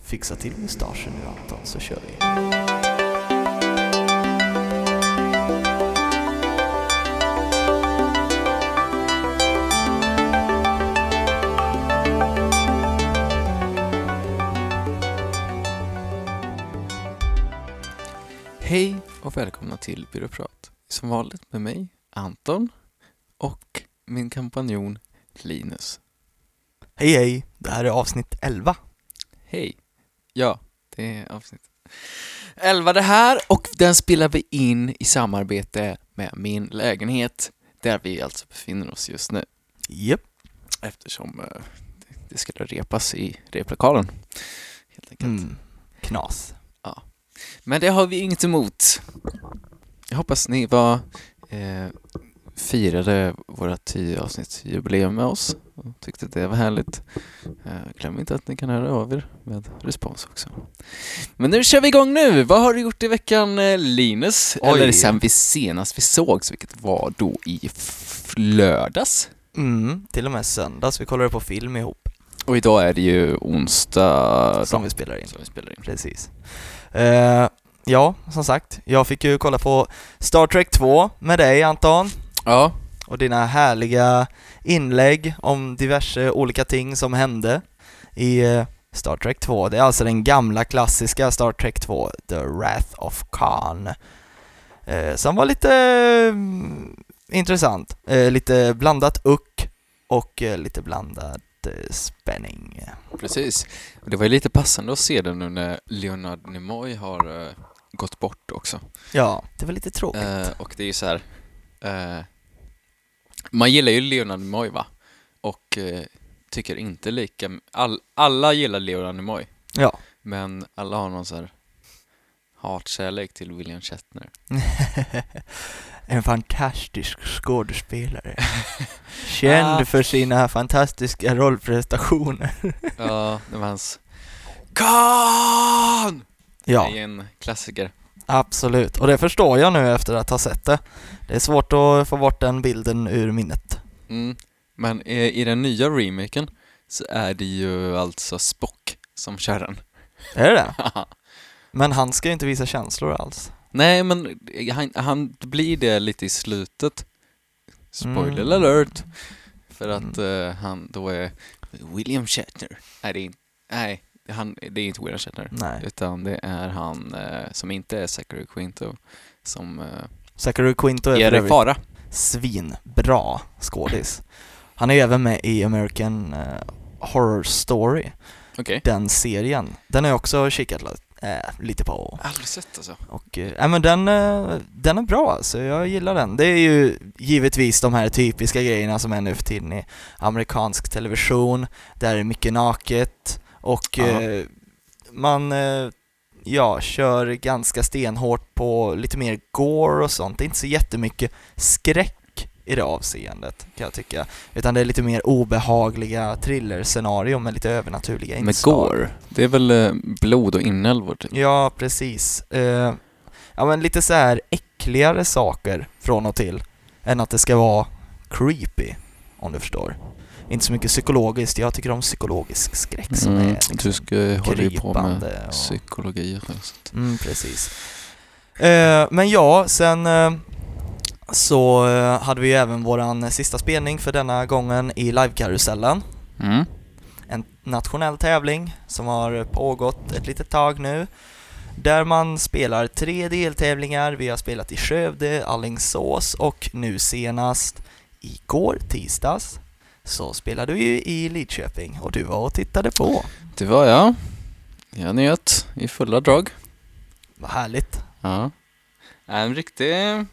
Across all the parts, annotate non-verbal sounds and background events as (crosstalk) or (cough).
Fixa till mustaschen nu Anton, så kör vi. Hej och välkomna till Byråprat. Som vanligt med mig, Anton, och min kompanjon Linus. Hej hej, det här är avsnitt 11. Hej! Ja, det är avsnitt 11 det här och den spelar vi in i samarbete med min lägenhet där vi alltså befinner oss just nu Japp. eftersom eh, det- det skulle repas i replokalen. Helt enkelt. Mm. Knas. Men det har vi inget emot. Jag hoppas ni var eh, firade våra 10 avsnittsjubileum med oss och tyckte att det var härligt. Eh, glöm inte att ni kan höra av er med respons också. Men nu kör vi igång nu! Vad har du gjort i veckan eh, Linus? Oj. Eller sen vi senast vi sågs, vilket var då i f- lördags. Mm, till och med söndags. Vi kollade på film ihop Och idag är det ju onsdag som dag vi spelar in. som vi spelar in. Precis. Eh, ja, som sagt. Jag fick ju kolla på Star Trek 2 med dig Anton. Ja, och dina härliga inlägg om diverse olika ting som hände i eh, Star Trek 2. Det är alltså den gamla klassiska Star Trek 2, The Wrath of Khan. Eh, som var lite mm, intressant. Eh, lite blandat uck och eh, lite blandad eh, spänning. Precis. Och Det var ju lite passande att se det nu när Leonard Nimoy har eh, gått bort också. Ja, det var lite tråkigt. Eh, och det är ju så här... eh, man gillar ju Leonard Nimoy va? Och eh, tycker inte lika... All, alla gillar Leonard Nimoy, Ja. men alla har någon så här hatkärlek till William Shatner. en fantastisk (laughs) skådespelare. Känd för sina fantastiska rollprestationer. Ja, (laughs) det var hans... Khan! Ja. Det är en klassiker. Absolut, och det förstår jag nu efter att ha sett det. Det är svårt att få bort den bilden ur minnet. Mm. Men i, i den nya remaken så är det ju alltså Spock som kör den. Är det (laughs) det? Men han ska ju inte visa känslor alls. Nej, men han, han blir det lite i slutet. Spoiler Mm. alert! För att eh, han då är William Shatner. Nej, det är inte, nej, han, det är inte William Shatner. Nej. Utan det är han eh, som inte är Zachary Quinto som eh, Zachary Quinto är är för i övrigt fara. svinbra skådis. Han är ju även med i American eh, Horror Story, Okej. den serien. Den har jag också kikat la- eh, lite på. Aldrig sett alltså. Och, eh, ja, men den, eh, den är bra alltså, jag gillar den. Det är ju givetvis de här typiska grejerna som är nu för tiden i amerikansk television, där det är mycket naket och Ja. eh, man eh, ja, kör ganska stenhårt på lite mer gore och sånt. Det är inte så jättemycket skräck i det avseendet kan jag tycka, utan det är lite mer obehagliga thrillerscenario med lite övernaturliga Med inslag. Gore. Det är väl eh, blod och inälvor typ. Ja, precis. Eh, ja, men lite så här äckligare saker från och till än att det ska vara creepy, om du förstår. Inte så mycket psykologiskt. Jag tycker om psykologisk skräck som Mm, är du liksom ska, håller ju på med krypande. Och, psykologi och sånt. mm, precis. Eh, men ja, sen eh, så eh, hade vi ju även våran sista spelning för denna gången i livekarusellen Mm. en nationell tävling som har pågått ett litet tag nu. Där man spelar tre deltävlingar. Vi har spelat i Skövde, Alingsås och nu senast igår tisdags så spelade vi ju i Lidköping och du var och tittade på. Det var jag. Jag njöt i fulla drag. Vad härligt. Ja. En riktig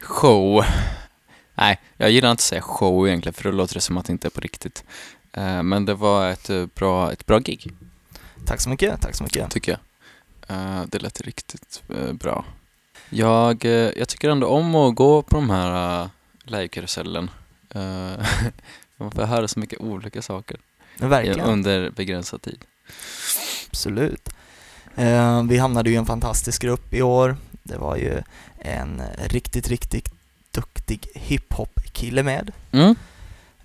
show. Nej, jag gillar inte att säga show egentligen för då låter det som att det inte är på riktigt. Eh, Men det var ett eh, bra, ett bra gig, Tack så mycket, tack så mycket. tycker jag. Eh, Det lät riktigt eh, bra. Jag, eh, jag tycker ändå om att gå på de här eh, livekarusellen. Eh, (laughs) Man får höra så mycket olika saker Men i- verkligen. under begränsad tid. Absolut. Eh, vi hamnade ju i en fantastisk grupp i år. Det var ju en riktigt, riktigt duktig hiphop-kille med. Mm. Eh,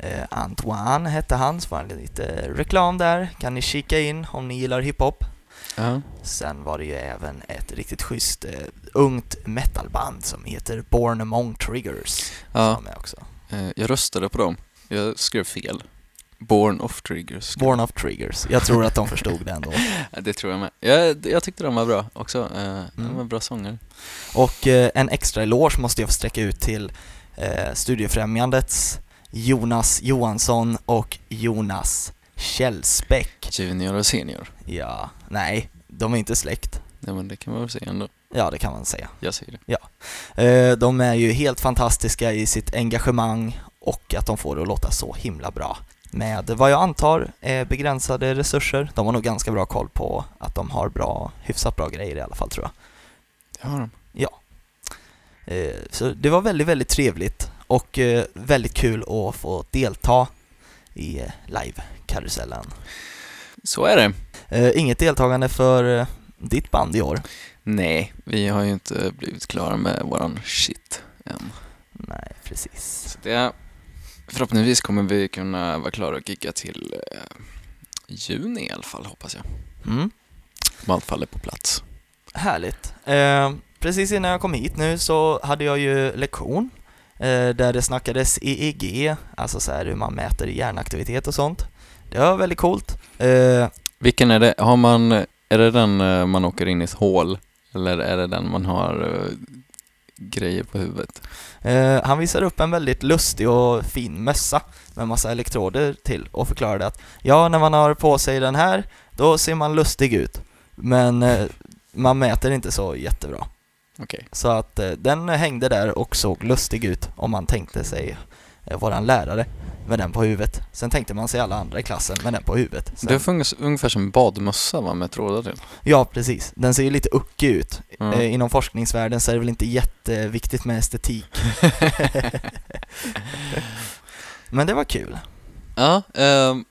Eh, Antoine hette han, så var det lite reklam där. Kan ni kika in om ni gillar hiphop. Ja. Sen var det ju även ett riktigt schysst eh, ungt metalband som heter Born Among Triggers. Ja. Som är också. Eh, Jag röstade på dem. Jag skrev fel. Born of Triggers. skrev Born of Triggers. Jag tror att de förstod det ändå. Ja, Det tror jag med. Jag, jag tyckte de var bra också. Eh, De Mm. var bra sångare. Och eh, en extra eloge måste jag få sträcka ut till eh, Studiefrämjandets Jonas Johansson och Jonas Källsbäck. Junior och senior. Ja, nej, de är inte släkt. Nej men det kan man väl säga ändå. Ja, det kan man säga. Jag säger det. Eh, de är ju helt fantastiska i sitt engagemang och att de får det att låta så himla bra. Med vad jag antar är begränsade resurser. De har nog ganska bra koll på att de har bra, hyfsat bra grejer i alla fall tror jag. Det har de. Eh, Så det var väldigt, väldigt trevligt och eh, väldigt kul att få delta i eh, live-karusellen. Så är det. Eh, Inget deltagande för eh, ditt band i år? Nej, vi har ju inte blivit klara med våran shit än. Nej, precis. Så det, förhoppningsvis kommer vi kunna vara klara och gigga till eh, juni i alla fall, hoppas jag. Mm. Om allt faller på plats. Härligt. Eh, Precis innan jag kom hit nu så hade jag ju lektion eh, där det snackades EEG, alltså så här hur man mäter hjärnaktivitet och sånt. Det var väldigt coolt. Eh, Vilken är det? Har man, är det den eh, man åker in i ett hål? Eller är det den man har eh, grejer på huvudet? Eh, han visade upp en väldigt lustig och fin mössa med massa elektroder till och förklarade att ja, när man har på sig den här, då ser man lustig ut. Men eh, man mäter inte så jättebra. Okej. Så att eh, den hängde där och såg lustig ut om man tänkte sig eh, våran lärare med den på huvudet. Sen tänkte man sig alla andra i klassen med den på huvudet. Sen, Det fungerar ungefär som en badmössa va, med trådar till? Ja, precis. Den ser ju lite uckig ut Ja. Eh, Inom forskningsvärlden så är det väl inte jätteviktigt med estetik. Men det var kul. Ja, ehm,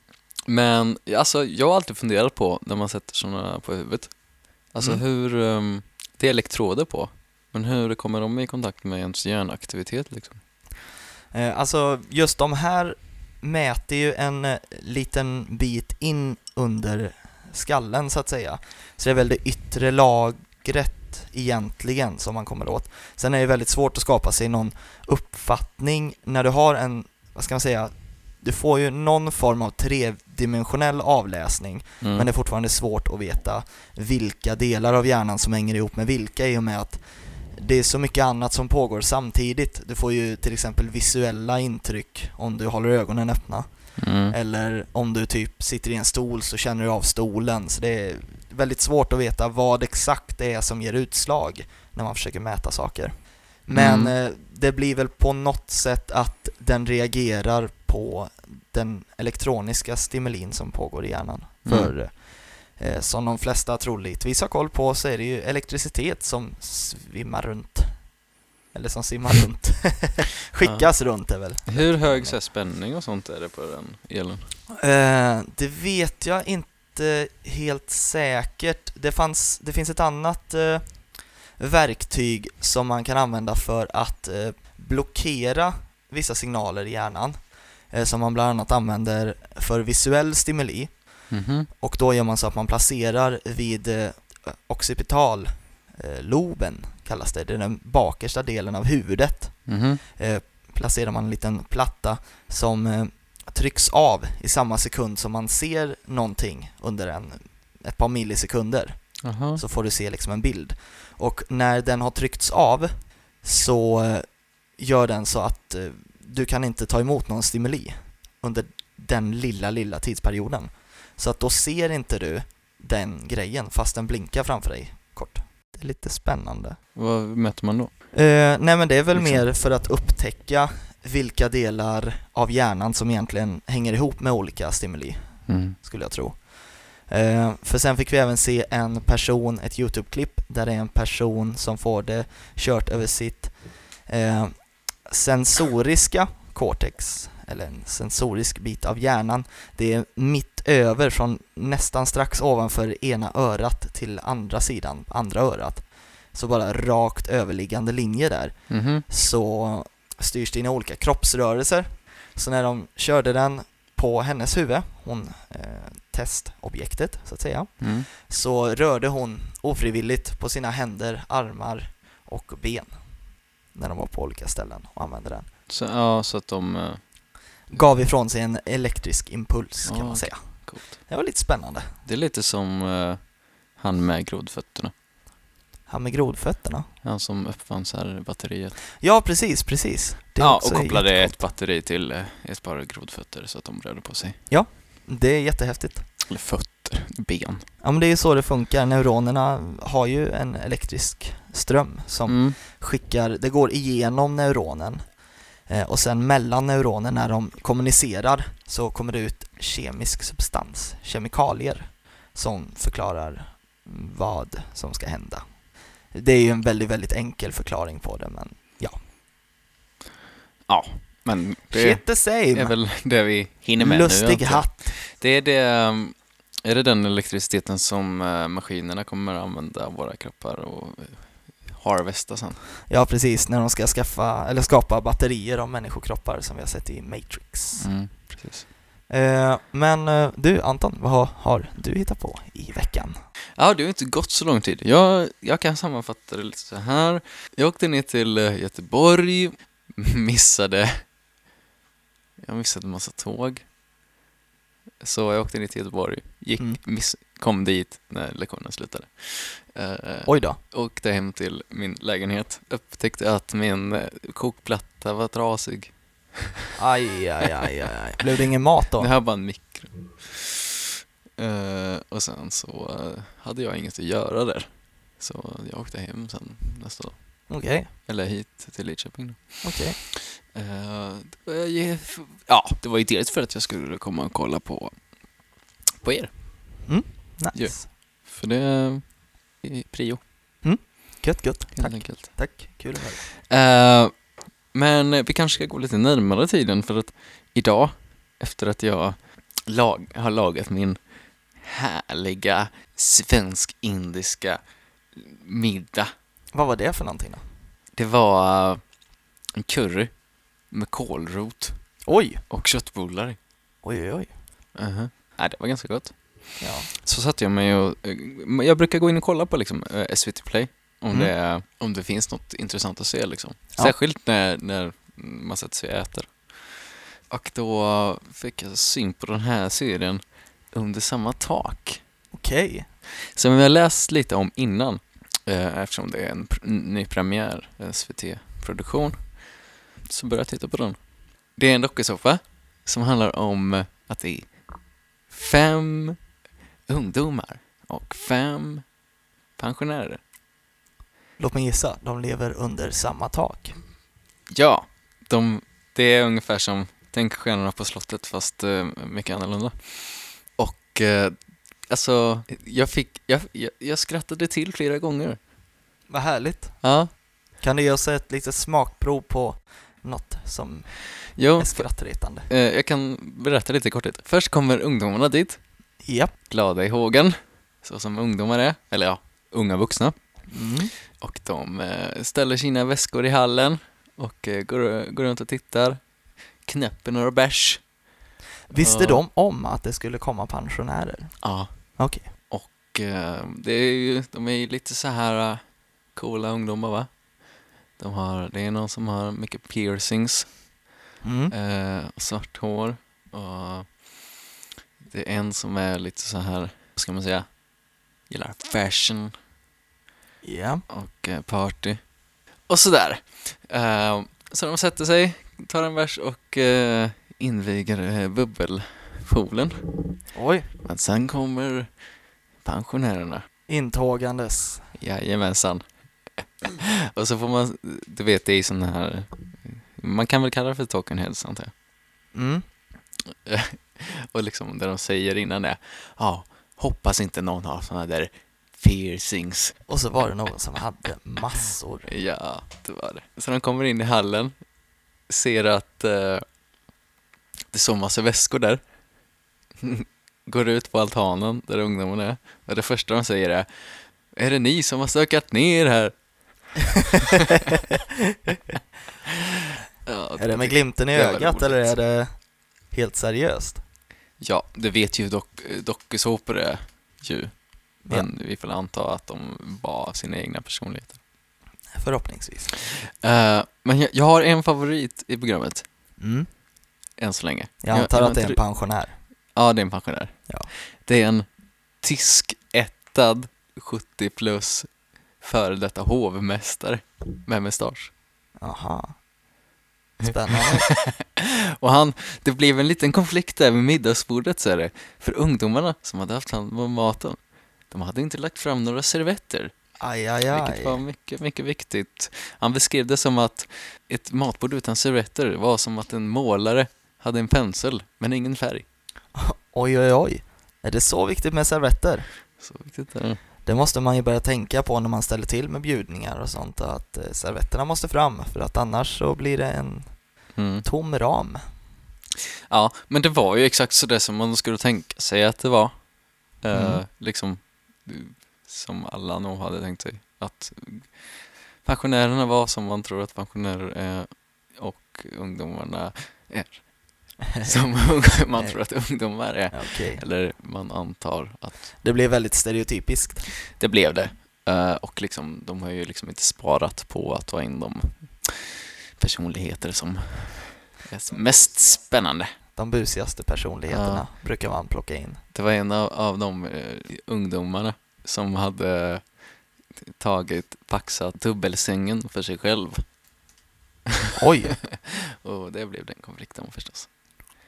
men alltså jag har alltid funderat på när man sätter sådana på huvudet. Alltså Mm. hur, ehm, det är elektroder på, men hur kommer de i kontakt med ens hjärnaktivitet liksom? Eh, Alltså just de här mäter ju en eh, liten bit in under skallen så att säga. Så det är väl det yttre lagret egentligen som man kommer åt. Sen är det väldigt svårt att skapa sig någon uppfattning när du har en, vad ska man säga, du får ju någon form av tredimensionell avläsning Mm. Men det är fortfarande svårt att veta vilka delar av hjärnan som hänger ihop med vilka i och med att det är så mycket annat som pågår samtidigt. Du får ju till exempel visuella intryck om du håller ögonen öppna. Eh, mm. Eller om du typ sitter i en stol så känner du av stolen. Så det är väldigt svårt att veta vad exakt det är som ger utslag när man försöker mäta saker. Men Mm. eh, det blir väl på något sätt att den reagerar på den elektroniska stimulin som pågår i hjärnan. Mm. För eh, som de flesta troligtvis har koll på så är det ju elektricitet som svimmar runt. Eller som simmar runt. (laughs) Skickas runt är väl. Hur hög så här, spänning och sånt är det på den elen? Eh, det vet jag inte helt säkert. Det, fanns, det finns ett annat eh, verktyg som man kan använda för att eh, blockera vissa signaler i hjärnan. Eh, som man bland annat använder för visuell stimuli. Mhm. Och då gör man så att man placerar vid eh, occipitalloben, eh, loben kallas det. Det är den bakersta delen av huvudet Mhm. eh, placerar man en liten platta som eh, trycks av i samma sekund som man ser någonting under en, ett par millisekunder. Jaha. Så får du se liksom en bild. Och när den har tryckts av så eh, gör den så att eh, du kan inte ta emot någon stimuli under den lilla, lilla tidsperioden. Så att då ser inte du den grejen fast den blinkar framför dig kort. Det är lite spännande. Vad mäter man då? Eh, nej men det är väl Liksom. mer för att upptäcka vilka delar av hjärnan som egentligen hänger ihop med olika stimuli, Mm. skulle jag tro. Eh, för sen fick vi även se en person, ett YouTube-klipp, där det är en person som får det kört över sitt eh, sensoriska cortex, eller en sensorisk bit av hjärnan. Det är mitt över, från nästan strax ovanför ena örat till andra sidan, andra örat. Så bara rakt överliggande linje där Mhm. så styrs dina olika kroppsrörelser. Så när de körde den på hennes huvud, hon, eh, testobjektet så att säga, Mm. så rörde hon ofrivilligt på sina händer, armar och ben när de var på olika ställen och använde den. Så, ja, så att de... eh, Gav ifrån sig en elektrisk impuls kan Ja, man okej. säga. Coolt. Det var lite spännande. Det är lite som eh, han med grodfötterna. Han med grodfötterna. Han som uppfann så här batteriet. Ja, precis, precis. Det är ja, också och kopplade jätte- ett batteri till eh, ett par grodfötter så att de rörde på sig. Det är jättehäftigt. Eller fötter, ben. Ja, men det är ju så det funkar. Neuronerna har ju en elektrisk ström som Mm. skickar, det går igenom neuronen eh, och sen mellan neuronen när de kommunicerar så kommer det ut kemisk substans, kemikalier, som förklarar vad som ska hända. Det är ju en väldigt, väldigt enkel förklaring på det men Men det shit the är same! väl det vi hinner med nu. Lustig antar jag. hatt! Det är det... um, Är det den elektriciteten som eh, maskinerna kommer att använda av våra kroppar och eh, harvesta sen? Ja precis, när de ska skaffa, eller skapa batterier av människokroppar som vi har sett i Matrix. Mm, precis. Eh, men eh, du Anton, vad har, har du hittat på i veckan? Ja, det har inte gått så lång tid. Jag, jag kan sammanfatta det lite så här. Jag åkte ner till eh, Göteborg, (laughs) missade... Jag missade en massa tåg. Så jag åkte ner till Göteborg, gick, Mm. miss, kom dit när lektionen slutade. Eh, Oj då. åkte hem till min lägenhet, upptäckte att min eh, kokplatta var trasig. Aj, aj, aj, aj, aj. Blev det ingen mat då? Det här var en mikro. Eh, och sen så eh, hade jag inget att göra där. Så jag åkte hem sen nästa dag. Okej, Eller hit till Lidköping då. okej. Eh, det var ju- Ja, det var ju dels för att jag skulle komma och kolla på, på er. Nice. För det är prio, Gött, gött. helt Tack, enkelt. tack. Kul att höra. Eh, men vi kanske ska gå lite närmare tiden för att idag, efter att jag lag, har lagat min härliga svensk-indiska middag. Vad var det för någonting då? Det var eh, en curry med kålrot Oj! och köttbullar. Oj, oj, oj. uh Nej, det var ganska gott. Ja. Så satte jag mig och... eh, men Jag brukar gå in och kolla på liksom, eh, SVT Play om, Mm. det, är- om det finns något intressant att se. Liksom. Ja. Särskilt när, när man sätter sig och äter. Och då fick jag syn på den här serien Under samma tak. Okej. Som jag läst lite om innan. Eh, eftersom det är en pr- ny premiär, eh, SVT-produktion. Så började jag titta på den. Det är en dokusåpa som handlar om eh, att det är fem ungdomar och fem pensionärer. Låt mig gissa, de lever under samma tak. Ja, de, det är ungefär som Tänk stjärnorna på slottet fast eh, mycket annorlunda. Och eh, alltså, jag fick, jag, jag, jag skrattade till flera gånger. Vad härligt. Ja, Kan du ge oss ett litet smakprov på något som jo, är skrattretande? eh, jag kan berätta lite korthet. Först kommer ungdomarna dit, Japp. glada i hågen, så som ungdomar är, eller ja, unga vuxna. Mm. Och de eh, ställer sina väskor i hallen och eh, går, går runt och tittar, knäpper några bärs. Visste Ja. de om att det skulle komma pensionärer? Ja. Okej. Och eh, det är ju, de är ju lite så här eh, coola ungdomar va? De har, det är någon som har mycket piercings, Mm. eh, och svart hår och det är en som är lite så här, vad ska man säga, gillar fashion Ja. och eh, party och sådär. Eh, så de sätter sig, tar en vers och eh, inviger eh, bubbelpoolen. Oj. Men sen kommer pensionärerna Intågandes. Jajamensan. (laughs) Och så får man, du vet det är ju sån här, man kan väl kalla det för token heads antar jag. Mm. Och liksom det de säger innan det, ja, hoppas inte någon har såna där piercings. Och så var det någon som hade massor. Ja, det var det. Så de kommer in i hallen, ser att eh, det står massa väskor där. (laughs) Går ut på altanen där ungdomarna är. Och det första de säger är, är det ni (laughs) som har stökat ner här? Ja, Är det med glimten i det var ögat roligt. eller är det helt seriöst? Ja, det vet ju dock, eh, dokusåpor är ju. Men vi får anta att de var sina egna personligheter. Förhoppningsvis. Eh, men jag, jag har en favorit i programmet, Mm. än så länge. Jag antar att det är tror- en pensionär. Ja, det är en pensionär. Ja. Det är en tyskättad 70 plus före detta hovmästare med mustasch. Aha. Spännande. Och han, det blev en liten konflikt där vid middagsbordet så är det. För ungdomarna som hade haft hand om maten, de hade inte lagt fram några servetter. Aj, aj, Vilket var aj. mycket, mycket viktigt. Han beskrev det som att ett matbord utan servetter var som att en målare hade en pensel, men ingen färg. Oj, oj, oj. Är det så viktigt med servetter? Så viktigt är det. Det måste man ju börja tänka på när man ställer till med bjudningar och sånt, att eh, servetterna måste fram, för att annars så blir det en Mm. tom ram. Ja, men det var ju exakt så det som man skulle tänka sig att det var. Eh, Mm. liksom, som alla nog hade tänkt sig. Att pensionärerna var som man tror att pensionärer är och ungdomarna är. Som man tror att ungdomar är. Okej. Eller man antar att Det blev väldigt stereotypiskt. Det blev det. Eh, och liksom, de har ju liksom inte sparat på att ta in de personligheter som är mest spännande. De busigaste personligheterna brukar man plocka in. Det var en av, av de eh, ungdomarna som hade tagit, paxat dubbelsängen för sig själv. Oj! Och det blev den konflikten förstås.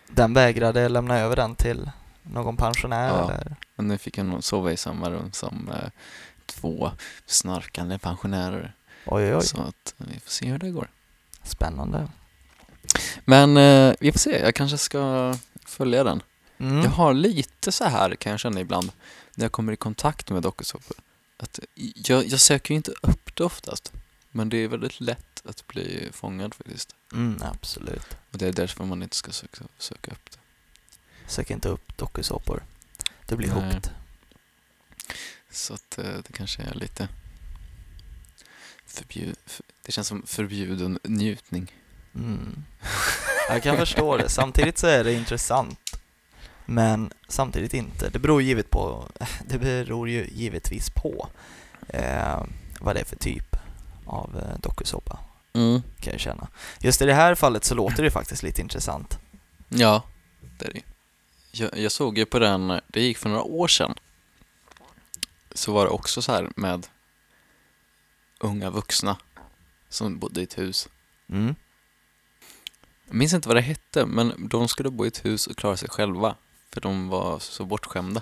Den vägrade lämna över den till någon pensionär Ja. eller? Men nu fick jag nog sova i samma rum som eh, två snarkande pensionärer. Oj, oj, oj. Så att vi får se hur det går. Spännande. Men eh, vi får se, jag kanske ska följa den. Mm. Jag har lite så här kan jag känna ibland när jag kommer i kontakt med dokusåpor. Att jag, jag söker ju inte upp det oftast, men det är väldigt lätt att bli fångad faktiskt. Mm, absolut. Och det är därför man inte ska söka, söka upp det. Sök inte upp dokusåpor. Du blir Nej. hooked. Så att eh, det kanske är lite förbjud, för, det känns som förbjuden njutning. (laughs) Mm. Jag kan förstå det. Samtidigt så är det intressant. Men samtidigt inte. Det beror, givet på, (laughs) det beror ju givetvis på eh, vad det är för typ av eh, dokusåpa, kan jag känna. Just i det här fallet så låter det faktiskt lite intressant. Ja, det är det ju. jag, jag såg ju på den, det gick för några år sedan. Så var det också så här med unga vuxna som bodde i ett hus. Mm. Jag minns inte vad det hette, men de skulle bo i ett hus och klara sig själva. För de var så bortskämda.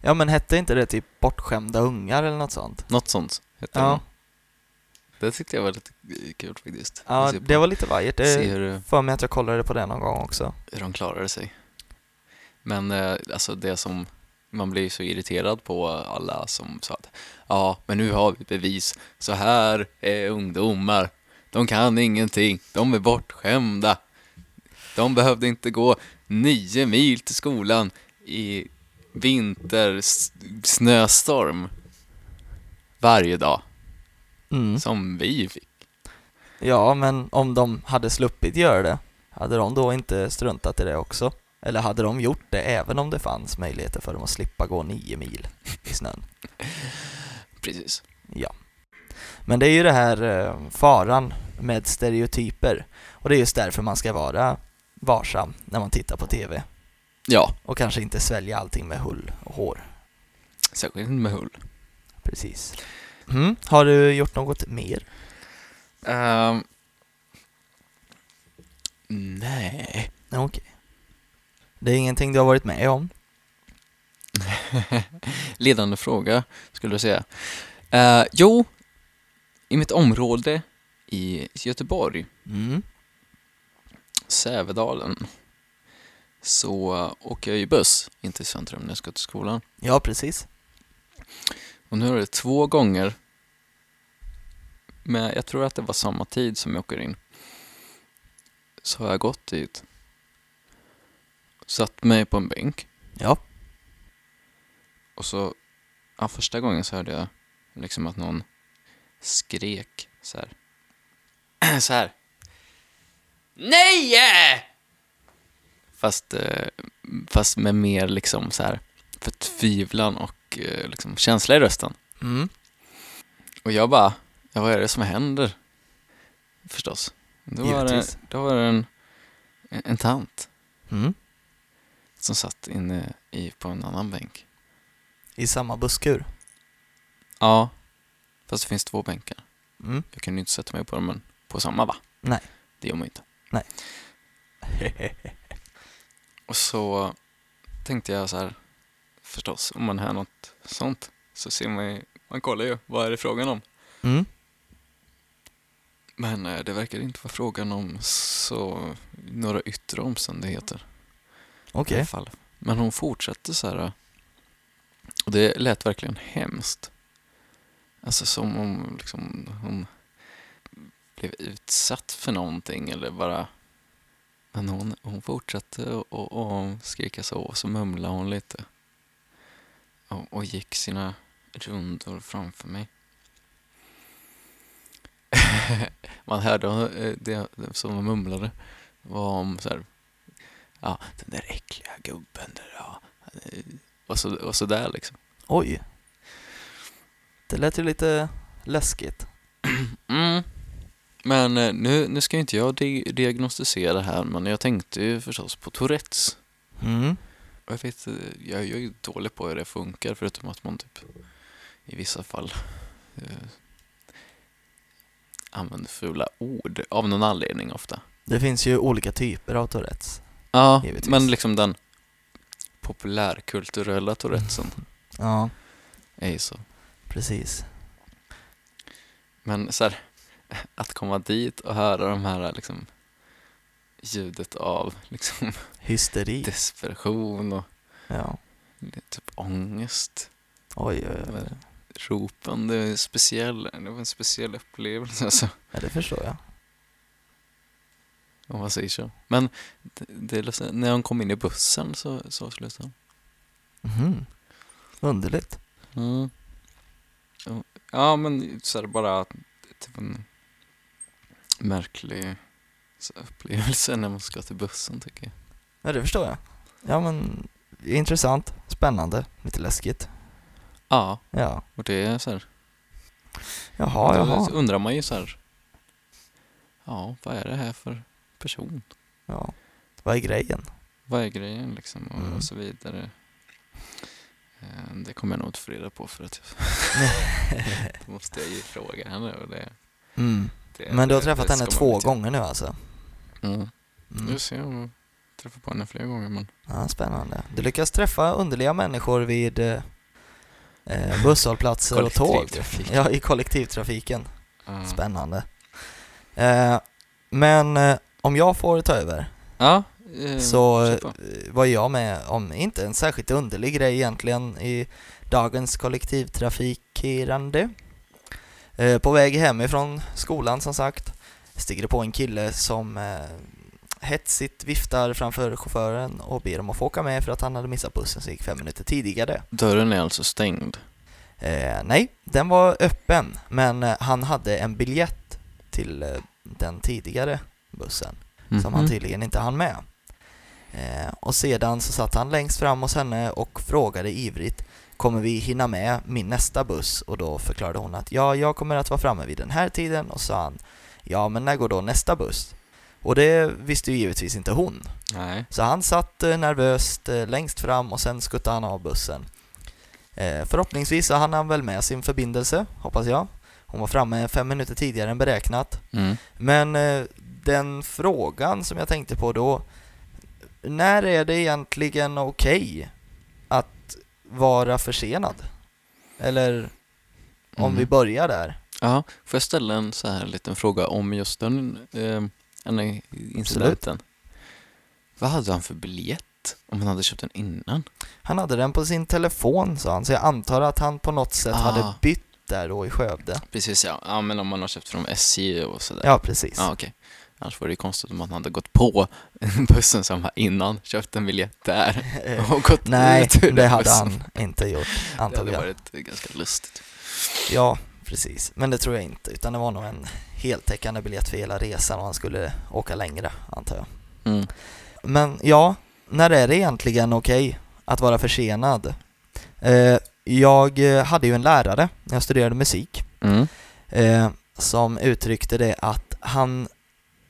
Ja men hette inte det typ bortskämda ungar eller något sånt? Något sånt hette Ja. de. Det tyckte jag var lite kul faktiskt. Ja, Att se på- det var lite vajert. Se Det hur det för mig att jag kollade på det någon gång också. hur de klarade sig. Men eh, alltså det som man blir ju så irriterad på alla som sa att ja, men nu har vi bevis. Så här är ungdomar. De kan ingenting. De är bortskämda. De behövde inte gå nio mil till skolan i vintersnöstorm varje dag, Mm. som vi fick. Ja, men om de hade sluppit göra det, hade de då inte struntat i det också? Eller hade de gjort det även om det fanns möjligheter för dem att slippa gå nio mil i snön? Precis. Men det är ju det här eh, faran med stereotyper. Och det är just därför man ska vara varsam när man tittar på TV. Ja, Och kanske inte svälja allting med hull och hår. särskilt med hull. Precis. Mm. Har du gjort något mer? Ehm. nej. Nej, Okej. Det är ingenting du har varit med om? Ledande fråga, skulle du säga. Eh, jo, i mitt område i Göteborg, Mm. Sävedalen, så åker jag ju buss in till centrum när jag ska till skolan. Ja, precis. Och nu är det två gånger, men jag tror att det var samma tid som jag åker in, så har jag gått dit, satt mig på en bänk Ja. Och så, ja, första gången så hörde jag liksom att någon (clears throat) skrek så här. så här. Nej! Fast, eh, fast med mer liksom så här förtvivlan och eh, liksom känsla i rösten. Mm. Och jag bara, ja, vad är det som händer? Förstås. Då var det, Givetvis. då var det en, en, en tant Mm. som satt inne i, på en annan bänk. I samma busskur. Ja, fast det finns två bänkar. Mm. Jag kunde ju inte sätta mig på dem, men på samma va? Nej. Det gör man ju inte. Nej. (laughs) Och så tänkte jag så här, förstås, om man hör något sånt så ser man ju, man kollar ju, vad är det frågan om? Mm. Men eh, det verkar inte vara frågan om så, några yttre omständigheter i Okej. alla fall. Men hon fortsatte så här, äh, och det lät verkligen hemskt. Alltså som om liksom, hon blev utsatt för någonting eller bara... Men hon, hon fortsatte och, och, och skrika så och så mumlade hon lite. Och, och gick sina rundor framför mig. (laughs) Man hörde eh, det det som hon mumlade var om så här, ja, den där äckliga gubben där, ja. eh, Och så, och så där liksom. Oj. Det lät ju lite läskigt. Mm. Men eh, nu, nu ska ju inte jag di- diagnostisera det här, men jag tänkte ju förstås på Tourettes. Mm. Och Jag, vet, eh, jag, jag är ju dålig på hur det funkar, förutom att man typ i vissa fall eh, använder fula ord, av någon anledning ofta. Det finns ju olika typer av Tourettes. Ja, Givetvis. men liksom den populärkulturella Tourettesen Ja, är ju så. precis. Men så här, att komma dit och höra de här liksom ljudet av liksom (laughs) Hysteri. desperation och Ja. typ ångest. Oj, oj, oj. Ropen, det är speciell, det var en speciell upplevelse alltså, Ja, det förstår jag. om man säger så. Men det, det är ledsen- när hon kom in i bussen så, så slutade Mhm. Underligt. hon. Mm. Och- Ja, men så här bara att- typ en märklig så här upplevelse när man ska till bussen tycker jag. Ja, det förstår jag. Ja, men intressant, spännande, lite läskigt. Ja, Ja. och det är så här Jaha, Då jaha. undrar man ju så här. Ja, vad är det här för person? Ja. Vad är grejen? Vad är grejen liksom? Och, Mm. och så vidare. Eh, Det kommer jag nog inte få reda på för att jag... (laughs) (laughs) Då måste jag ju fråga henne. Och det, Mm. det, Men du har det- träffat det henne ska man två inte- gånger nu alltså? Mm. Mm. Just det, jag träffar på henne flera gånger. Men... Ja, spännande. Du lyckas träffa underliga människor vid eh, eh, busshållplatser och tåg. Kollektivtrafik. Mm. Ja, i kollektivtrafiken. Ja. Spännande. Eh, men eh, om jag får ta över Ja, eh, så eh, kör på. var jag med om inte en särskilt underlig grej egentligen i dagens kollektivtrafikerande. Eh, På väg hemifrån skolan som sagt sticker det på en kille som eh, hetsigt viftar framför chauffören och ber om att få åka med för att han hade missat bussen som gick fem minuter tidigare. Dörren är alltså stängd. Eh, nej, den var öppen, men eh, han hade en biljett till eh, den tidigare bussen som han Mhm. tydligen inte hann med. Eh, och sedan så satt han längst fram hos henne och frågade ivrigt Kommer vi hinna med min nästa buss? Och då förklarade hon att ja, jag kommer att vara framme vid den här tiden och sa han Ja, men när går då nästa buss? Och det visste ju givetvis inte hon. Nej. Så han satt eh, nervöst eh, längst fram och sen skuttade han av bussen. Eh, Förhoppningsvis så hann han väl med sin förbindelse, hoppas jag. Hon var framme fem minuter tidigare än beräknat. Mm. Men eh, den frågan som jag tänkte på då, när är det egentligen okej att vara försenad? Eller om Mm. vi börjar där. Ja, får jag ställa en så här liten fråga om just den eh, den här incidenten? Vad hade han för biljett om han hade köpt den innan? Han hade den på sin telefon sa han, så jag antar att han på något sätt Ah. hade bytt där då i Skövde. Precis ja, ja men om man har köpt från SJ och sådär. Ja, precis. (laughs) Ja, okej. Annars var det ju konstigt om han hade gått på (laughs) bussen som var innan, köpt en biljett (laughs) där och gått Nej, ut ur det den hade bussen. han inte gjort, Det antar hade jag. varit ganska lustigt. Ja, precis. Men det tror jag inte, utan det var nog en heltäckande biljett för hela resan om han skulle åka längre, antar jag. Mm. Men ja, när är det egentligen okej att vara försenad? Eh, jag eh, hade ju en lärare när jag studerade musik Mm. eh, som uttryckte det att han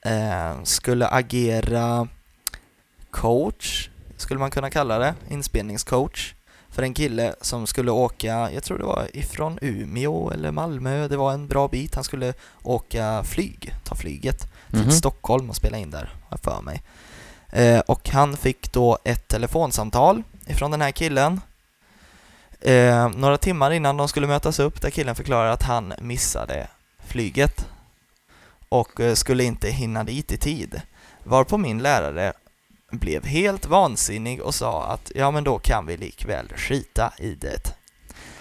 eh, skulle agera coach, skulle man kunna kalla det, inspelningscoach för en kille som skulle åka, jag tror det var ifrån Umeå eller Malmö, det var en bra bit, han skulle åka flyg, ta flyget till Mhm. Stockholm och spela in där, har jag för mig. Eh, och han fick då ett telefonsamtal ifrån den här killen eh, några timmar innan de skulle mötas upp där killen förklarar att han missade flyget och eh, skulle inte hinna dit i tid. Varpå min lärare blev helt vansinnig och sa att ja men då kan vi likväl skita i det.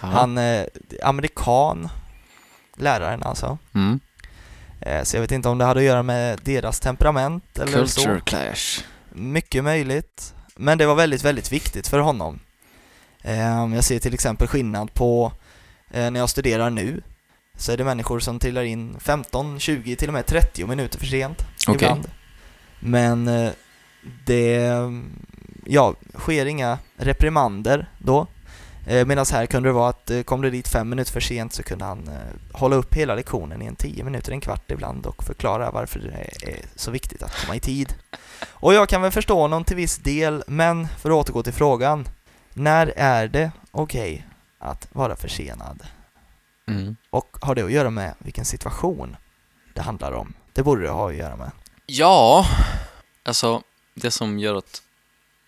Ja. Han, eh, amerikan, läraren alltså. Mm. Eh, Så jag vet inte om det hade att göra med deras temperament eller Culture så. clash. Mycket möjligt. Men det var väldigt, väldigt viktigt för honom. Eh, Jag ser till exempel skillnad på eh, när jag studerar nu så är det människor som trillar in 15, 20, till och med 30 minuter för sent Okej. ibland. Men eh, det ja, sker inga reprimander då. Eh, Medan här kunde det vara att eh, kom du dit fem minuter för sent så kunde han eh, hålla upp hela lektionen i en tio minuter, en kvart ibland och förklara varför det är så viktigt att komma i tid. Och jag kan väl förstå honom till viss del, men för att återgå till frågan. När är det okej att vara försenad? Mm. Och har det att göra med vilken situation det handlar om? Det borde det ha att göra med. Ja, alltså det som gör att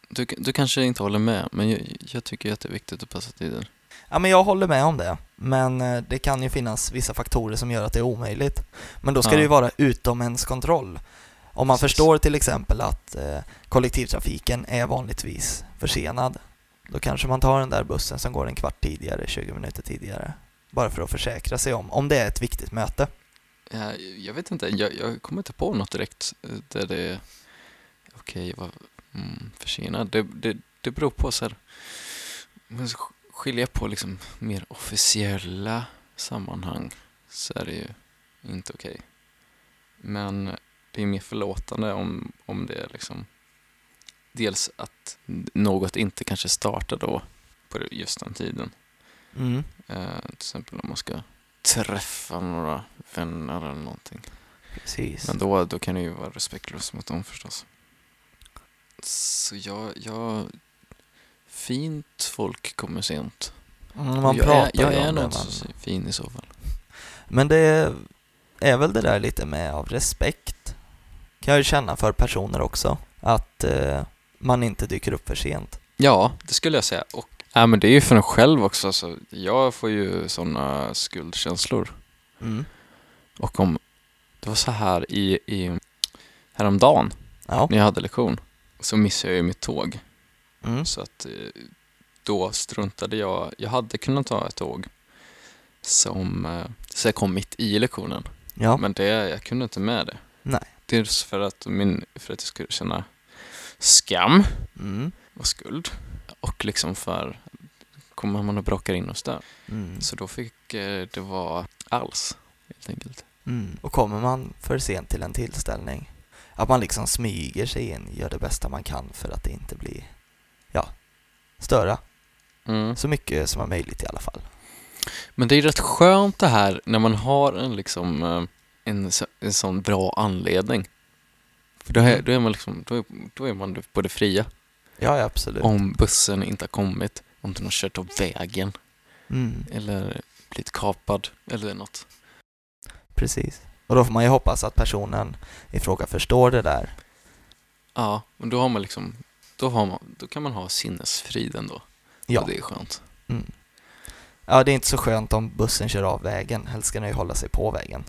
du, du kanske inte håller med, men jag, jag tycker att det är viktigt att passa tiden. Ja, men jag håller med om det. Men eh, det kan ju finnas vissa faktorer som gör att det är omöjligt. Men då ska Ja. det ju vara utom ens kontroll. Om man Precis. förstår till exempel att eh, kollektivtrafiken är vanligtvis försenad, då kanske man tar den där bussen som går en kvart tidigare, 20 minuter tidigare. Bara för att försäkra sig om, om det är ett viktigt möte. Ja, jag vet inte, jag, jag kommer inte på något direkt eh, där det är okej okay, mm, försenad. Det, det, det beror på så här, man ska sk- skilja på liksom mer officiella sammanhang så är det ju inte okej. Men det är mer förlåtande om, om det är liksom dels att något inte kanske startar då på just den tiden Mm. Eh, till exempel om man ska träffa några vänner eller någonting. Precis. Men då, då kan det ju vara respektlöst mot dem förstås. Så jag, jag... Fint folk kommer sent. Mm, man jag pratar är, jag ju om är det, nog inte man- så fin i så fall. Men det är väl det där lite med av respekt. Kan jag ju känna för personer också. Att eh, man inte dyker upp för sent. Ja, det skulle jag säga. Och, ja, men det är ju för en själv också. Alltså, jag får ju sådana skuldkänslor. Mm. Och om... Det var så här i, i häromdagen Ja. när jag hade lektion. Så missade jag ju mitt tåg. Mm. Så att eh, då struntade jag. Jag hade kunnat ta ett tåg som eh, så jag kom mitt i lektionen. ja. Men det, jag kunde inte med det. Nej. Dels för att, min, för att jag skulle känna skam Mm. och skuld. Och liksom för kommer man och bråkar in oss där. Mm. Så då fick eh, det vara alls helt enkelt. Mm. Och kommer man för sent till en tillställning, att man liksom smyger sig in, gör det bästa man kan för att det inte blir, ja, störa. Mm. Så mycket som är möjligt i alla fall. Men det är rätt skönt det här när man har en, liksom, eh, en, så- en sån bra anledning. För då är, då är man liksom, då är, då är man på det fria. Ja, ja, absolut. Om bussen inte har kommit, om den har kört av vägen Mm. eller blivit kapad eller något. Precis. Och då får man ju hoppas att personen i fråga förstår det där. Ja, men då har man liksom, då, har man, då kan man ha sinnesfriden då. Ja. Och det är skönt. Ja, det är inte så skönt om bussen kör av vägen. Helst ska den ju hålla sig på vägen.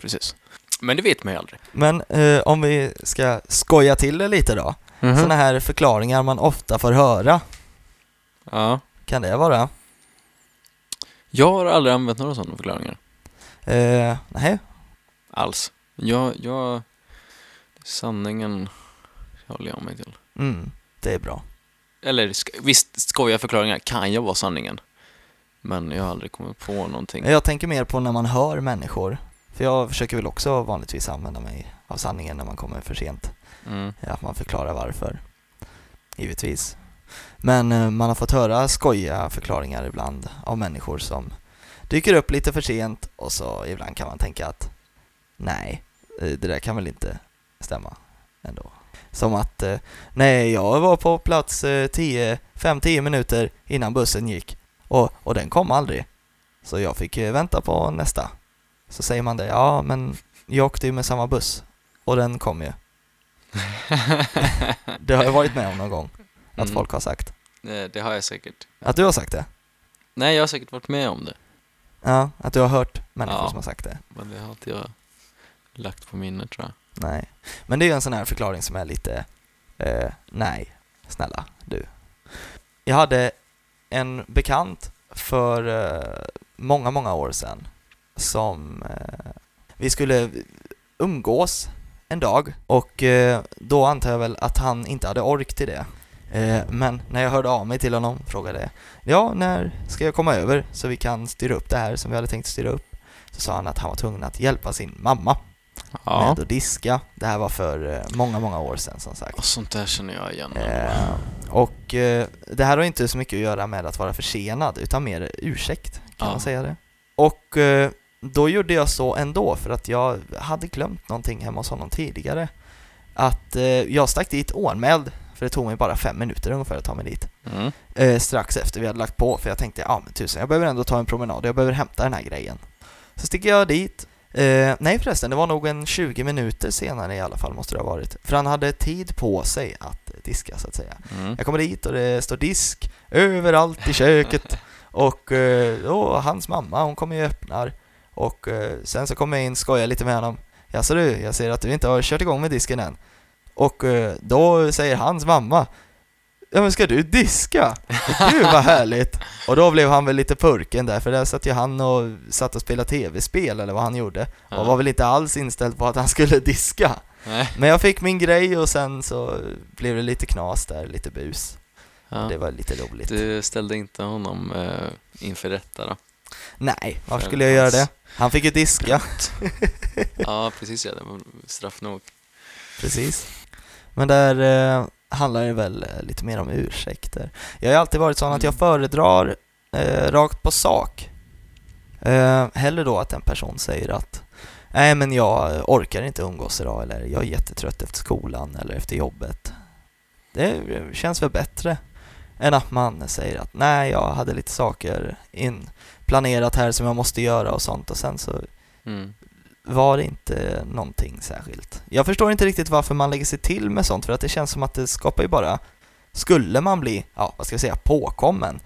Precis. Men det vet man ju aldrig. Men eh, om vi ska skoja till det lite då. Mhm. Sådana här förklaringar man ofta får höra, Ja. kan det vara? Jag har aldrig använt några sådana förklaringar. Eh, nej, alls. Jag, jag, sanningen håller jag mig till. mm, det är bra. Eller sk- visst, skojiga förklaringar kan ju vara sanningen. Men jag har aldrig kommit på någonting. Jag tänker mer på när man hör människor För jag försöker väl också vanligtvis använda mig av sanningen när man kommer för sent. Mm. (laughs) Att man förklarar varför. Givetvis. Men eh, man har fått höra skojiga förklaringar ibland av människor som dyker upp lite för sent och så ibland kan man tänka att nej, eh, det där kan väl inte stämma ändå. Som att eh, nej, jag var på plats eh, 5-10 minuter innan bussen gick och, och den kom aldrig. Så jag fick eh, vänta på nästa. Så säger man det, ja men jag åkte ju med samma buss och den kom ju. Det har jag varit med om någon gång, att Mm. folk har sagt. Nej, det har jag säkert. Att du har sagt det? Nej, jag har säkert varit med om det. Ja, att du har hört människor Ja. som har sagt det. Men det har inte jag lagt på minnet tror jag. Nej. Men det är ju en sån här förklaring som är lite, eh, nej, snälla du. Jag hade en bekant för eh, många, många år sedan som eh, vi skulle umgås en dag och eh, då antar jag väl att han inte hade ork till det. Eh, men när jag hörde av mig till honom frågade jag, ja när ska jag komma över så vi kan styra upp det här som vi hade tänkt styra upp? Så sa han att han var tvungen att hjälpa sin mamma Ja. med att diska. Det här var för eh, många, många år sedan som sagt. Och sånt där känner jag igen. Eh, och eh, det här har inte så mycket att göra med att vara försenad, utan mer ursäkt, kan Ja. man säga det. Och eh, då gjorde jag så ändå, för att jag hade glömt någonting hemma hos honom tidigare. Att eh, jag stack dit oanmäld, för det tog mig bara fem minuter ungefär att ta mig dit. Mm. Eh, strax efter vi hade lagt på, för jag tänkte ja men tusen, jag behöver ändå ta en promenad, jag behöver hämta den här grejen. Så sticker jag dit. Eh, nej förresten, det var nog en 20 minuter senare i alla fall måste det ha varit. För han hade tid på sig att diska så att säga. Mm. Jag kommer dit och det står disk överallt i köket och eh, då, hans mamma hon kommer ju och öppnar och eh, sen så kommer jag in och skojar lite med honom. Jaså du, jag ser att du inte har kört igång med disken än. Och eh, då säger hans mamma Ja men ska du diska? Gud vad härligt! Och då blev han väl lite purken där för där satt ju han och satt och spelade tv-spel eller vad han gjorde och var väl inte alls inställd på att han skulle diska. Nej. Men jag fick min grej och sen så blev det lite knas där, lite bus. Ja. Det var lite roligt. Du ställde inte honom eh, inför (laughs) rätta då? Nej, varför För skulle jag göra hans- det? Han fick ju diska, Ja, precis ja. Det var straff nog. (laughs) precis. Men där eh, handlar det väl eh, lite mer om ursäkter. Jag har ju alltid varit sån att jag Mm. föredrar eh, rakt på sak. Eh, hellre då att en person säger att Nej men jag orkar inte umgås idag eller jag är jättetrött efter skolan eller efter jobbet. Det eh, känns väl bättre än att man säger att nej jag hade lite saker in planerat här som jag måste göra och sånt och sen så Mm. var det inte någonting särskilt. Jag förstår inte riktigt varför man lägger sig till med sånt, för att det känns som att det skapar ju bara, skulle man bli, ja vad ska jag säga, påkommen,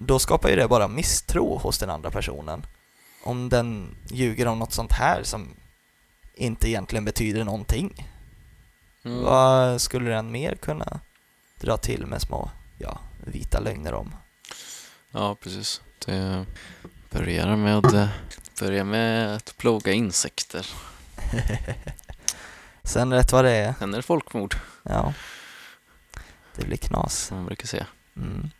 då skapar ju det bara misstro hos den andra personen. Om den ljuger om något sånt här som inte egentligen betyder någonting, Mm. vad skulle den mer kunna dra till med små, ja, vita lögner om? Ja, precis. Det börjar med, eh, börjar med att plåga insekter. Sen rätt vad det är, Sen är det folkmord, ja, det blir knas. som man brukar säga. Mm.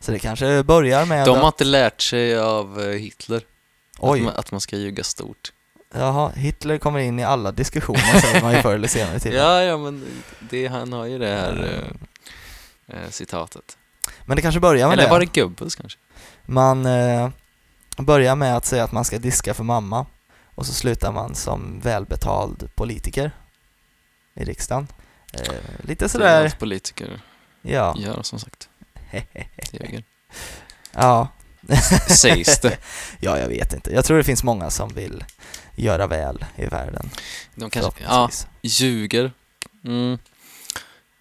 Så det kanske börjar med De att- har inte lärt sig av eh, Hitler Oj. Att, man, att man ska ljuga stort. Jaha, Hitler kommer in i alla diskussioner säger (laughs) man ju förr eller senare till. Ja, ja, men det, han har ju det här eh, eh, citatet. Men det kanske börjar med Eller det. var det Goebbels kanske? Man eh, börjar med att säga att man ska diska för mamma och så slutar man som välbetald politiker i riksdagen. Eh, lite Det är alltså- sådär, allt politiker ja. gör som sagt. Ljuger. (laughs) ja. Sägs det. Ja, jag vet inte. Jag tror det finns många som vill göra väl i världen. De kanske, ja, förhoppningsvis. ljuger. Mm.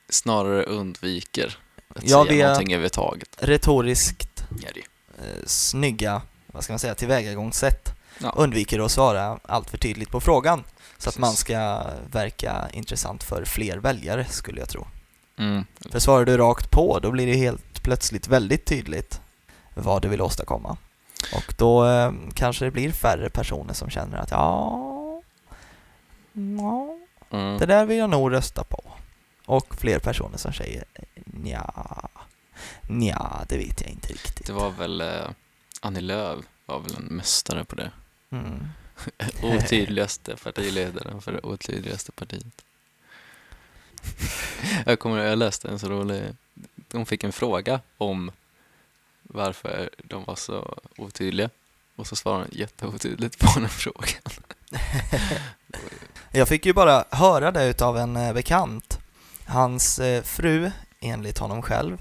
Snarare undviker att Ja, säga det- någonting överhuvudtaget. Retoriskt Är det. ju. eh, snygga, vad ska man säga, tillvägagångssätt Ja. undviker att svara allt för tydligt på frågan. Så att Precis. man ska verka intressant för fler väljare skulle jag tro. Mm. För svarar du rakt på då blir det helt plötsligt väldigt tydligt vad du vill åstadkomma. Och då eh, kanske det blir färre personer som känner att ja, ja Mm. det där vill jag nog rösta på. Och fler personer som säger nja, nja, det vet jag inte riktigt. Det var väl eh, Annie Lööf var väl en mästare på det. Mm. Otydligaste partiledaren för det otydligaste partiet. Jag kommer jag läste en så rolig... De fick en fråga om varför de var så otydliga och så svarade han jätteotydligt på den frågan. Jag fick ju bara höra det utav en eh, bekant. Hans eh, fru, enligt honom själv,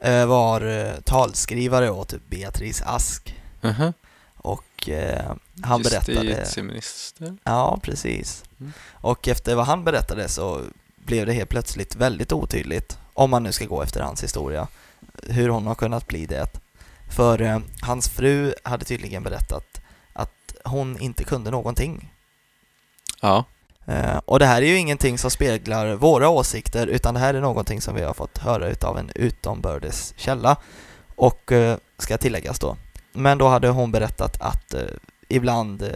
eh, var eh, talskrivare åt typ Beatrice Ask uh och eh, han berättade... Justitieminister? Ja, precis. Mm. Och efter vad han berättade så blev det helt plötsligt väldigt otydligt, om man nu ska gå efter hans historia, hur hon har kunnat bli det. För eh, hans fru hade tydligen berättat att hon inte kunde någonting. Ja. Eh, och det här är ju ingenting som speglar våra åsikter, utan det här är någonting som vi har fått höra utav en utombördes källa och eh, ska tilläggas då. Men då hade hon berättat att eh, ibland eh,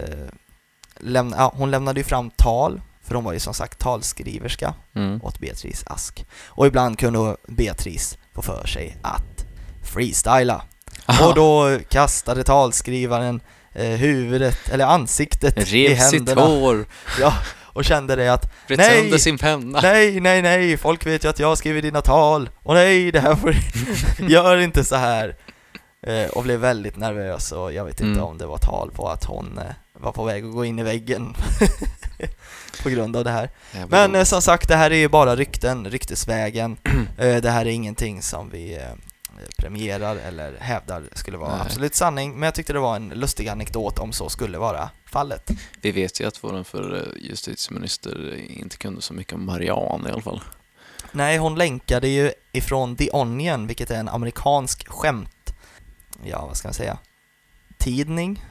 lämna, ja, hon lämnade ju fram tal, för hon var ju som sagt talskriverska Mm. åt Beatrice Ask. Och ibland kunde Beatrice få för sig att freestyla. Och då kastade talskrivaren eh, huvudet, eller ansiktet i Rev sitt händerna. hår, Ja, och kände det att bröt Nej! sönder sin penna. nej, nej, nej, folk vet ju att jag skriver dina tal och nej, det här (laughs) får gör inte så här. Eh, och blev väldigt nervös och jag vet inte Mm. om det var tal på att hon eh, var på väg att gå in i väggen (laughs) på grund av det här. Jävla Men eh, roligt. som sagt, det här är ju bara rykten, (clears throat) ryktesvägen. Eh, det här är ingenting som vi eh, premierar eller hävdar skulle vara Nej. absolut sanning, men jag tyckte det var en lustig anekdot om så skulle vara fallet. Vi vet ju att vår förre justitieminister inte kunde så mycket om Marianne i alla fall. Nej, hon länkade ju ifrån The Onion, vilket är en amerikansk skämt, ja vad ska man säga, tidning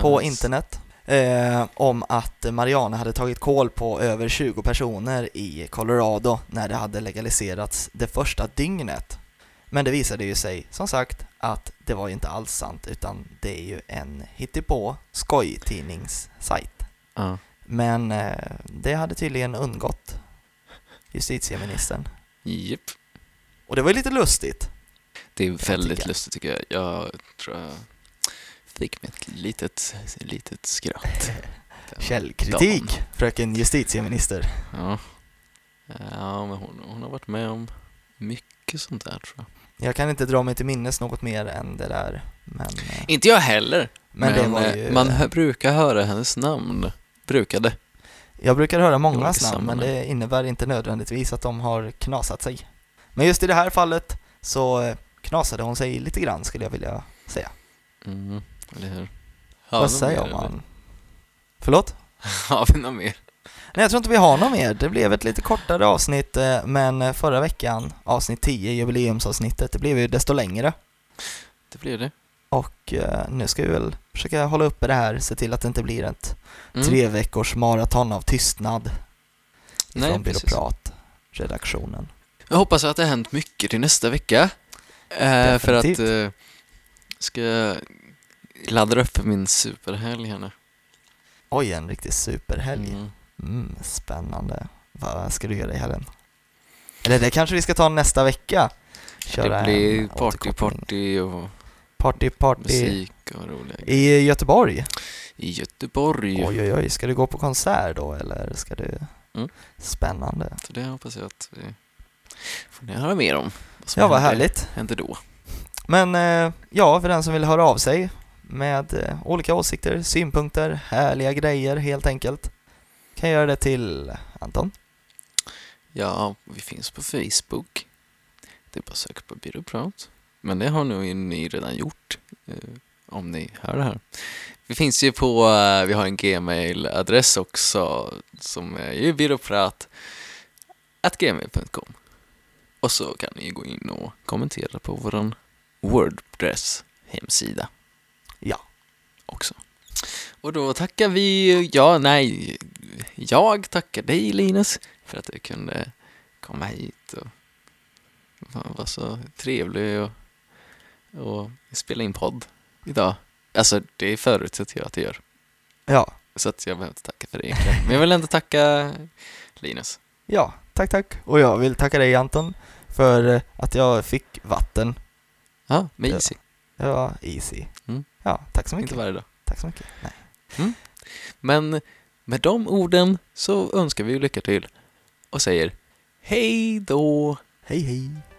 på Eh, internet. Eh, om att Mariana hade tagit koll på över 20 personer i Colorado när det hade legaliserats det första dygnet. Men det visade ju sig, som sagt, att det var ju inte alls sant utan det är ju en hittepå skojtidningssajt. Ja. Men eh, det hade tydligen undgått justitieministern. Japp. Och det var ju lite lustigt. Det är jag väldigt tycka. lustigt tycker jag. Jag tror jag fick mig ett litet, (laughs) litet skratt. Den Källkritik, dagen. fröken justitieminister. Ja, ja men hon, hon har varit med om mycket sånt där tror jag. Jag kan inte dra mig till minnes något mer än det där. Men, eh, Inte jag heller, men det var eh, ju... man hö- brukar höra hennes namn. Brukade. Jag brukar höra många olika namn, men sammanhang. det innebär inte nödvändigtvis att de har knasat sig. Men just i det här fallet så eh, knasade hon sig lite grann skulle jag vilja säga. Mm, eller hur? Har Vad vi något säger mer, eller? man? Förlåt? (laughs) Har vi något mer? Nej, jag tror inte vi har något mer. Det blev ett lite kortare avsnitt, eh, men eh, förra veckan, avsnitt 10, jubileumsavsnittet, det blev ju desto längre. Det blir det. Och eh, nu ska vi väl försöka hålla uppe det här, se till att det inte blir ett Mm. tre veckors maraton av tystnad Nej, från precis. byråkratredaktionen. Jag hoppas att det har hänt mycket till nästa vecka. Eh, för att eh, ska jag ladda upp för min superhelg här nu. Oj, en riktig superhelg. Mm. Mm, spännande. Vad ska du göra i helgen? Eller det kanske vi ska ta nästa vecka? Det en blir party, återkoppling. party och party, party musik och roliga grejer. i Göteborg. I Göteborg. Oj, oj, oj. Ska du gå på konsert då eller ska du... Mm. Spännande. Så det hoppas jag att vi får ni höra mer om. som Ja, vad händer- härligt. Händer då. Men eh, ja, för den som vill höra av sig med eh, olika åsikter, synpunkter, härliga grejer helt enkelt. Kan göra det till Anton. Ja, vi finns på Facebook. Det är bara att söka på Byråprat. Men det har nog ni redan gjort, eh, om ni hör det här. Vi finns ju på, eh, vi har en gmail-adress också som är ju byråprat gmail.com. Och så kan ni gå in och kommentera på vår Wordpress-hemsida. Ja. Också. Och då tackar vi, ja, nej, jag tackar dig Linus för att du kunde komma hit och fan, var så trevlig och, och spela in podd idag. Alltså det förutsätter jag att du gör, Ja, så att jag behöver inte tacka för det egentligen. Men jag vill ändå tacka Linus. ja, tack tack. Och jag vill tacka dig Anton för eh, att jag fick vatten. Ja, med Easy. Det var easy. Mm. Ja, tack så mycket. Inte varje dag. Tack så mycket. Nej. Men med de orden så önskar vi ju lycka till och säger hej då! Hej hej!